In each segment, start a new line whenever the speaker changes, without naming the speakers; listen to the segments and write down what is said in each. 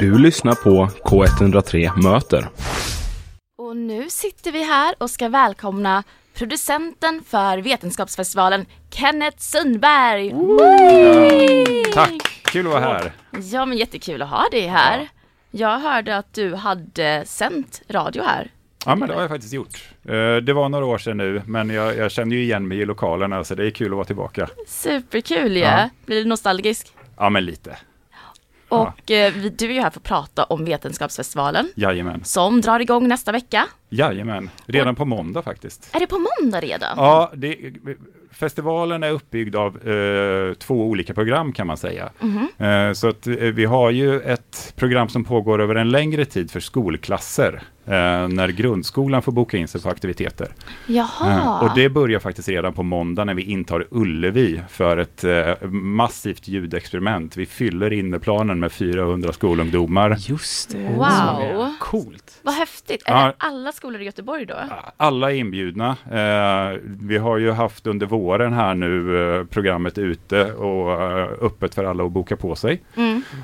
Du lyssnar på K103 Möter.
Och nu sitter vi här och ska välkomna producenten för Vetenskapsfestivalen, Kenneth Sundberg.
Tack! Kul att vara här.
Ja, men jättekul att ha dig här. Jag hörde att du hade sänt radio här.
Ja, men det har jag faktiskt gjort. Eh, Det var några år sedan nu, men jag, jag känner ju igen mig i lokalerna, så det är kul att vara tillbaka.
Superkul ju.
Ja.
Blir du nostalgisk?
Ja, men lite.
Och eh, vi- du är ju här för att prata om Vetenskapsfestivalen
Jajamän.
som drar igång nästa vecka.
Jajamän. Redan på måndag faktiskt.
Är det på måndag redan?
Ja, det, festivalen är uppbyggd av eh, två olika program kan man säga. Eh, så att eh, vi har ju ett program som pågår över en längre tid för skolklasser, eh, när grundskolan får boka in sig på aktiviteter.
Jaha.
Mm. Eh, Och det börjar faktiskt redan på måndag när vi intar Ullevi för ett eh, massivt ljudexperiment. Vi fyller inneplanen med 400 skolungdomar.
Just det.
Wow.
Coolt.
Vad häftigt. Är
Ja.
det alla skolor i Göteborg då?
Alla är inbjudna. Eh, vi har ju haft under våren här nu eh, programmet ute och eh, öppet för alla att boka på sig.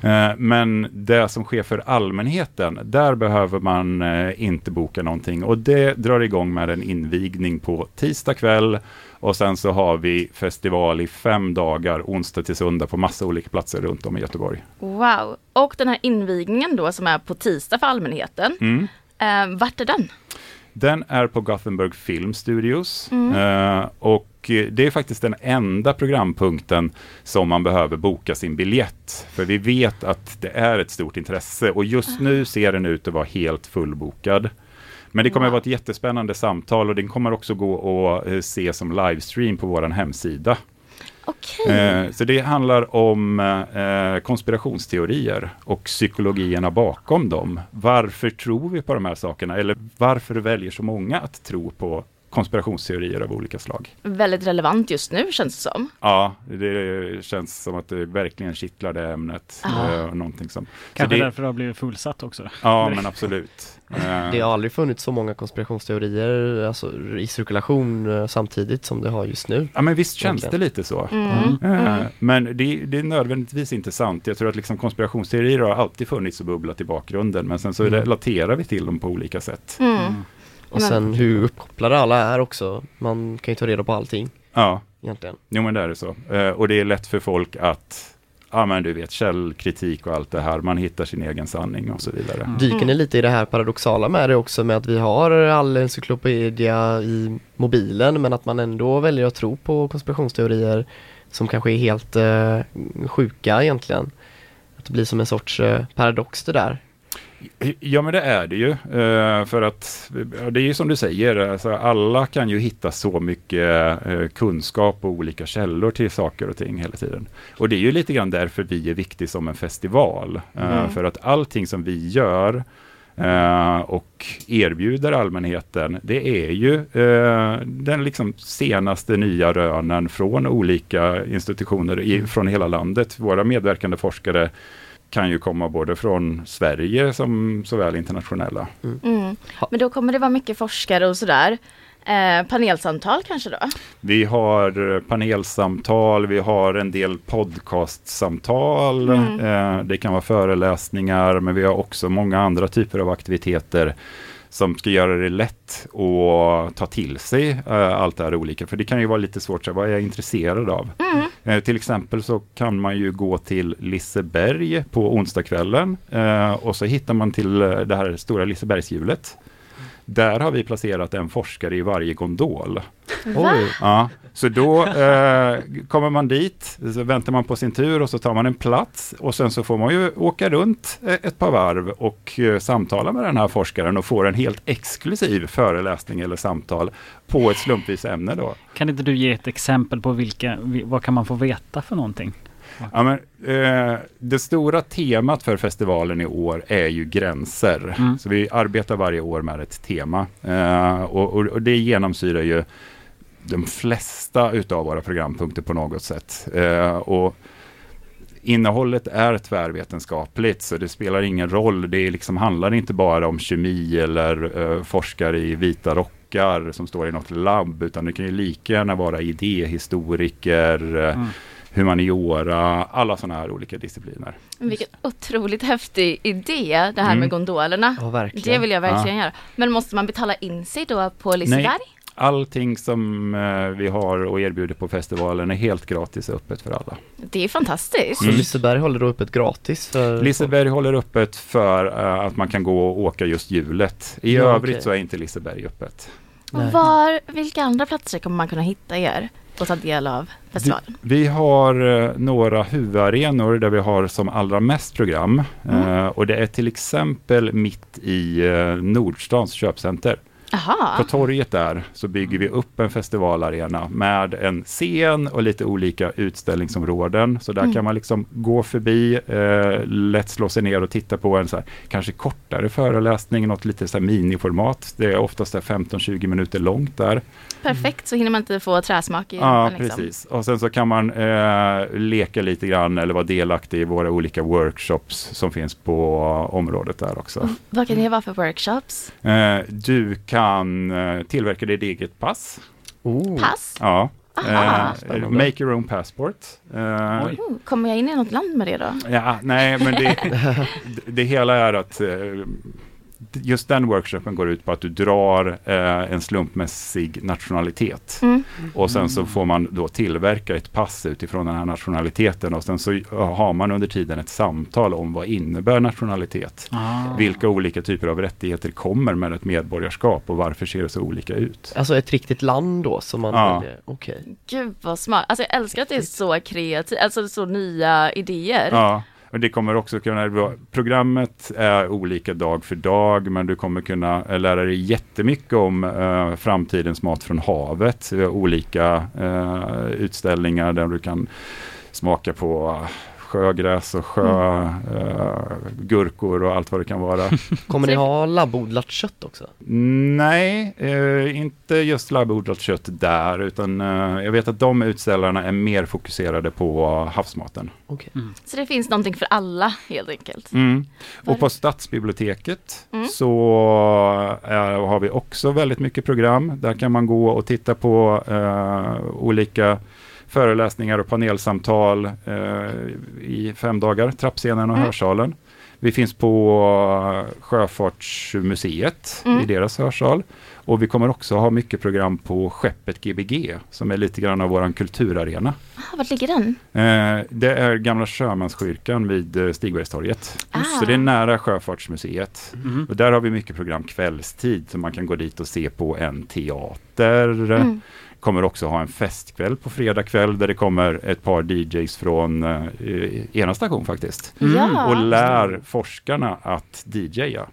Eh, men det som sker för allmänheten, där behöver man eh, inte boka någonting. Och det drar igång med en invigning på tisdag kväll. Och sen så har vi festival i fem dagar, onsdag till söndag, på massa olika platser runt om i Göteborg.
Wow. Och den här invigningen då som är på tisdag för allmänheten. Eh, vart är den?
Den är på Gothenburg Film Studios eh, och eh, det är faktiskt den enda programpunkten som man behöver boka sin biljett. För vi vet att det är ett stort intresse och just nu ser den ut att vara helt fullbokad. Men det kommer att vara ett jättespännande samtal och den kommer också gå att eh, se som livestream på vår hemsida.
Okej.
Eh, Så det handlar om eh, konspirationsteorier och psykologierna bakom dem. Varför tror vi på de här sakerna? Eller varför väljer så många att tro på konspirationsteorier av olika slag?
Väldigt relevant just nu känns det som.
Ja, det känns som att det verkligen kittlar det ämnet. Eh, Någonting som... så
Kanske
det,
därför det har blivit fullsatt också.
Ja, men absolut. Eh,
Det har aldrig funnits så många konspirationsteorier alltså, i cirkulation eh, samtidigt som det har just nu.
Ja, men visst känns det
Egentligen.
lite så. Eh, Men det, det är nödvändigtvis inte sant. Jag tror att liksom konspirationsteorier har alltid funnits och bubblat i bakgrunden, men sen så relaterar vi till dem på olika sätt.
Och
Men-
sen hur uppkopplade alla är också. Man kan ju ta reda på allting
Ja,
egentligen.
jo men det är det så. Eh, och det är lätt för folk att, ja men du vet, källkritik och allt det här, man hittar sin egen sanning och så vidare.
Mm.
Dyker ni lite i det här paradoxala med det också med att vi har all encyklopedia i mobilen men att man ändå väljer att tro på konspirationsteorier som kanske är helt eh, sjuka egentligen. Att det blir som en sorts eh, paradox det där.
Ja men det är det ju, eh, för att ja, det är ju som du säger, alltså, alla kan ju hitta så mycket eh, kunskap och olika källor till saker och ting hela tiden. Och det är ju lite grann därför vi är viktig som en festival, eh, för att allting som vi gör eh, och erbjuder allmänheten, det är ju eh, den liksom senaste nya rönen från olika institutioner i, från hela landet. Våra medverkande forskare kan ju komma både från Sverige som såväl internationella.
Mm. Men då kommer det vara mycket forskare och sådär. Eh, panelsamtal kanske då?
Vi har eh, panelsamtal, vi har en del podcastsamtal, eh, det kan vara föreläsningar, men vi har också många andra typer av aktiviteter som ska göra det lätt att ta till sig eh, allt det här olika. För det kan ju vara lite svårt, så här, vad är jag intresserad av? Eh, till exempel så kan man ju gå till Liseberg på onsdagskvällen eh, och så hittar man till eh, det här stora Lisebergshjulet. Där har vi placerat en forskare i varje gondol.
Oj,
Ja, så då eh, kommer man dit, så väntar man på sin tur och så tar man en plats och sen så får man ju åka runt eh, ett par varv och eh, samtala med den här forskaren och får en helt exklusiv föreläsning eller samtal på ett slumpvis ämne då.
Kan inte du ge ett exempel på vilka, vi- vad kan man få veta för någonting?
Ja, men, eh, det stora temat för festivalen i år är ju gränser.
Mm.
Så vi arbetar varje år med ett tema. Eh, och, och, och det genomsyrar ju de flesta utav våra programpunkter på något sätt. Eh, och innehållet är tvärvetenskapligt, så det spelar ingen roll. Det är liksom, handlar inte bara om kemi eller eh, forskare i vita rockar som står i något labb, utan det kan ju lika gärna vara idéhistoriker, eh, humaniora, alla sådana här olika discipliner.
Vilken otroligt häftig idé det här
Mm.
med gondolerna.
Ja, verkligen.
Det vill jag verkligen göra. Men måste man betala in sig då på Liseberg?
Allting som eh, vi har och erbjuder på festivalen är helt gratis och öppet för alla.
Det är fantastiskt.
Så Liseberg håller då öppet gratis för
Liseberg håller öppet för eh, att man kan gå och åka just hjulet. I
Ja,
övrigt
okej.
så är inte Liseberg öppet.
Och var, vilka andra platser kommer man kunna hitta er och ta del av festivalen?
Vi har eh, några huvudarenor där vi har som allra mest program.
Mm.
Eh, och det är till exempel mitt i eh, Nordstans köpcenter. På
Jaha,
torget där så bygger vi upp en festivalarena med en scen och lite olika utställningsområden. Så där kan man liksom gå förbi, eh, lätt slå sig ner och titta på en så här, kanske kortare föreläsning, något lite så här miniformat. Det är oftast så här 15-20 minuter långt där.
perfekt så hinner man inte få träsmak i
Ja,
rumpan, liksom.
precis. Och sen så kan man eh, leka lite grann eller vara delaktig i våra olika workshops som finns på området där också.
Vad kan det vara för workshops?
Eh, du kan eh, tillverka ditt eget pass.
oh.
Pass?
Ja.
Aha.
Eh, make your own passport. Eh,
Oj.
Oh, kommer jag in i något land med det då?
ja, nej, men det, det hela är att eh, just den workshopen går ut på att du drar eh, en slumpmässig nationalitet.
Mm.
Och sen så får man då tillverka ett pass utifrån den här nationaliteten och sen så eh, har man under tiden ett samtal om vad innebär nationalitet.
Ah.
Vilka olika typer av rättigheter kommer med ett medborgarskap och varför ser det så olika ut?
Alltså ett riktigt land då som man
Ja.
väljer, okej
Gud vad smart. Alltså jag älskar att det är så kreativt, alltså så nya idéer.
Ja, och det kommer också kunna vara, programmet är olika dag för dag, men du kommer kunna eh, lära dig jättemycket om eh, framtidens mat från havet. Vi har olika eh, utställningar där du kan smaka på eh, sjögräs och sjö, eh, gurkor och allt vad det kan vara.
Kommer ni ha labbodlat kött också?
Nej, eh, inte just labbodlat kött där, utan eh, jag vet att de utställarna är mer fokuserade på havsmaten.
Okej
Så det finns någonting för alla helt enkelt.
Mm. Och
Varför?
på Stadsbiblioteket
Mm.
så eh, har vi också väldigt mycket program. Där kan man gå och titta på eh, olika föreläsningar och panelsamtal eh, i fem dagar, trappscenen och
Mm.
hörsalen. Vi finns på Sjöfartsmuseet
Mm.
i deras hörsal. Och vi kommer också ha mycket program på Skeppet Gbg, som är lite grann av våran kulturarena.
Ah, var ligger den?
Eh, Det är gamla sjömanskyrkan vid eh, Stigbergstorget.
Ah.
Så det är nära Sjöfartsmuseet.
Mm.
Och där har vi mycket program kvällstid, så man kan gå dit och se på en teater.
Mm.
Kommer också ha en festkväll på fredag kväll där det kommer ett par DJs från eh, ena station faktiskt.
Ja,
Mm, Och lär forskarna att DJa.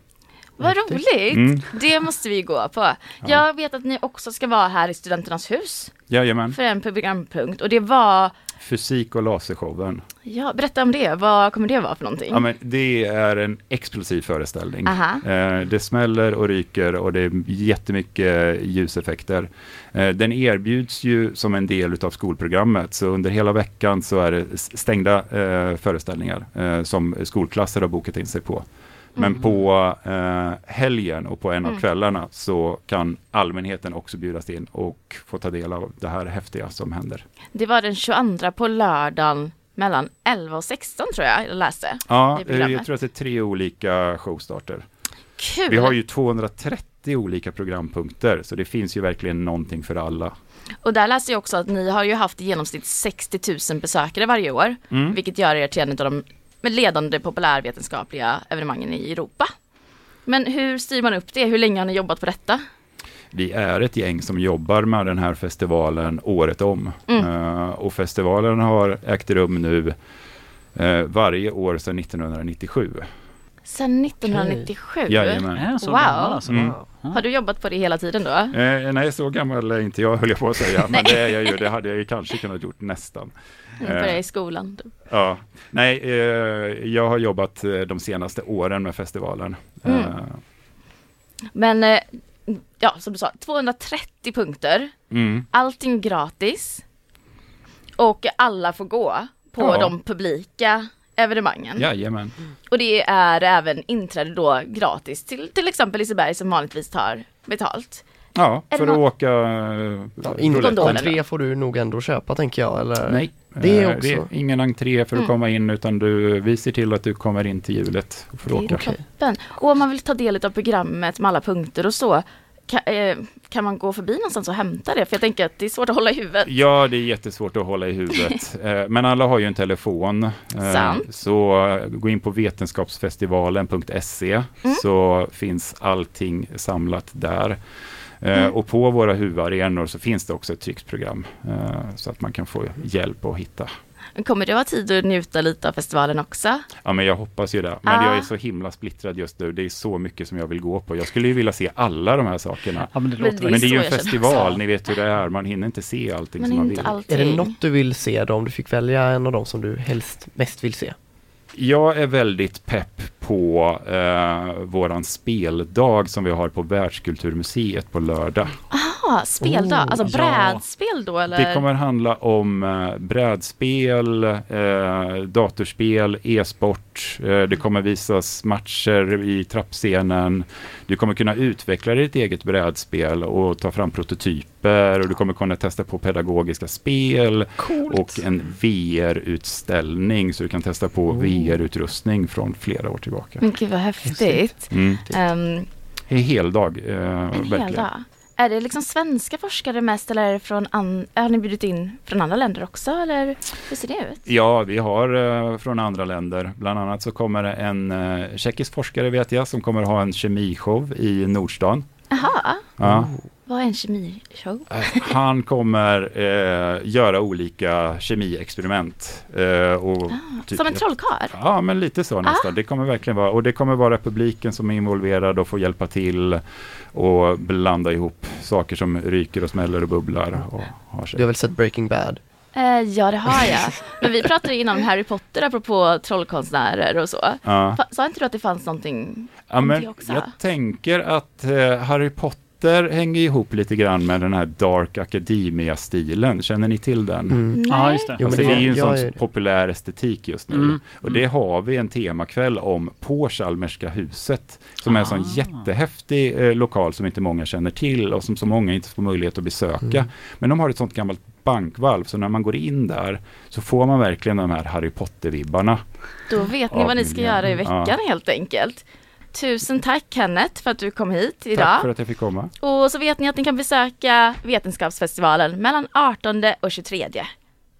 vad roligt!
Mm.
Det måste vi gå på. Jag vet att ni också ska vara här i Studenternas hus
Jajamän.
för en programpunkt och det var,
Fysik och lasershowen.
ja berätta om det, vad kommer det vara för någonting?
Ja, men det är en explosiv föreställning.
Aha.
Eh, det smäller och ryker och det är jättemycket ljuseffekter. Eh, den erbjuds ju som en del utav skolprogrammet, så under hela veckan så är det s- stängda eh, föreställningar eh, som skolklasser har bokat in sig på. Men
Mm.
på eh, helgen och på en av kvällarna så kan allmänheten också bjudas in och få ta del av det här häftiga som händer.
Det var den 22 på lördagen mellan 11 och 16 tror jag jag läste.
Ja,
i
eh,
programmet. Mm.
jag tror att det är tre olika showstarter.
Kul!
Vi har ju 230 olika programpunkter, så det finns ju verkligen någonting för alla.
Och där läste jag också att ni har ju haft i genomsnitt 60 000 besökare varje år,
Mm.
vilket gör er till en av de ledande populärvetenskapliga evenemangen i Europa. Men hur styr man upp det? Hur länge har ni jobbat på detta?
Vi är ett gäng som jobbar med den här festivalen året om.
Mm.
Eh, och festivalen har ägt rum nu eh, varje år sedan 1997.
Sedan 1997?
Jajamän.
Är så
Wow.
gammal alltså?
Mm.
Har du jobbat på det hela tiden då?
Eh, nej, så gammal är inte jag höll jag på att säga, men det är jag ju. Det hade jag ju kanske kunnat gjort nästan.
När du började i skolan?
Ja, nej, eh, jag har jobbat eh, de senaste åren med festivalen.
Mm.
Eh,
Men eh, ja, som du sa, 230 punkter,
mm.
allting gratis och alla får gå på
Ja.
de publika evenemangen.
Jajamän.
Och det är även inträde då gratis till till exempel Liseberg som vanligtvis tar betalt.
Ja,
Är
för
det
att
nå-
åka...
ja,
eh,
Inte
Gondoler
de
då?
tre får du nog ändå köpa tänker jag eller?
Nej,
Det
Eh,
också.
det är ingen entré för att
Mm.
komma in utan du, vi ser till att du kommer in till hjulet och får
Det är
åka.
toppen. Och om man vill ta del av programmet med alla punkter och så, kan, eh, kan man gå förbi någonstans och hämta det? För jag tänker att det är svårt att hålla i huvudet.
Ja, det är jättesvårt att hålla i huvudet. Eh, Men alla har ju en telefon. Eh,
Sant.
Så eh, gå in på vetenskapsfestivalen.se
Mm.
så finns allting samlat där. Eh,
Mm.
Och på våra huvudarenor så finns det också ett tryckt program eh, så att man kan få hjälp att hitta.
Kommer det vara tid att njuta lite av festivalen också?
Ja, men jag hoppas ju det. Men
Ah.
jag är så himla splittrad just nu. Det är så mycket som jag vill gå på. Jag skulle ju vilja se alla de här sakerna.
Ja, men det
Men
låter
det-
väl.
Men det är
så
ju
jag
en
känner också.
festival, ni vet hur det är. Man hinner inte se allting
Men
som man
inte
vill.
allting.
Är det något du vill se då om du fick välja en av dem som du helst mest vill se?
Jag är väldigt pepp på eh, våran speldag som vi har på Världskulturmuseet på lördag.
Ah, speldag,
Oh,
alltså
ja.
brädspel då eller?
Det kommer handla om eh, brädspel, eh, datorspel, e-sport. Eh, det kommer visas matcher i trappscenen. Du kommer kunna utveckla ditt eget brädspel och ta fram prototyper och du kommer kunna testa på pedagogiska spel och en VR-utställning så du kan testa på
Oh.
VR-utrustning från flera år tillbaka.
Men gud vad häftigt.
Mm.
Ehm,
En hel dag. Eh,
en hel
verkligen.
dag. Är det liksom svenska forskare mest eller är det från an- har ni bjudit in från andra länder också eller hur ser det ut?
Ja, vi har eh, från andra länder. Bland annat så kommer det en eh, tjeckisk forskare vet jag som kommer ha en kemishow i Nordstan.
Jaha,
Ja.
vad är en kemishow?
Eh, Han kommer eh, göra olika kemiexperiment. Eh, och typ-
Ah, Som en Ah. trollkarl?
Ja, men lite så nästan. Det kommer verkligen vara, och det kommer vara publiken som är involverad och får hjälpa till och blanda ihop saker som ryker och smäller och bubblar och har sig.
Du har väl sett Breaking Bad?
Eh, ja det har jag. Men vi pratade ju innan om Harry Potter apropå trollkonstnärer och så.
Ja.
Fa- Sa inte du att det fanns någonting?
Ja,
Inte
men
jag också.
jag tänker att eh, Harry Potter hänger ihop lite grann med den här Dark Academia-stilen. Känner ni till den?
Mm.
Ja, just det.
Jo, Mm. men
Alltså,
det-
det är ju en
jag
sån
är-
populär estetik just nu.
Mm,
Och det har vi en temakväll om på Chalmerska huset. Som är en
Ah.
sån jättehäftig eh, lokal som inte många känner till och som så många inte får möjlighet att besöka. Men de har ett sånt gammalt bankvalv, så när man går in där så får man verkligen de här Harry Potter-vibbarna.
Då vet ni
Ja,
vad ni ska
miljön.
göra i veckan
Ja.
helt enkelt. Tusen tack Kenneth för att du kom hit idag.
Tack för att jag fick komma.
Och så vet ni att ni kan besöka Vetenskapsfestivalen mellan 18 och 23